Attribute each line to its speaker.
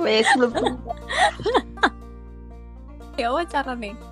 Speaker 1: Wes lu.
Speaker 2: ya wawancara nih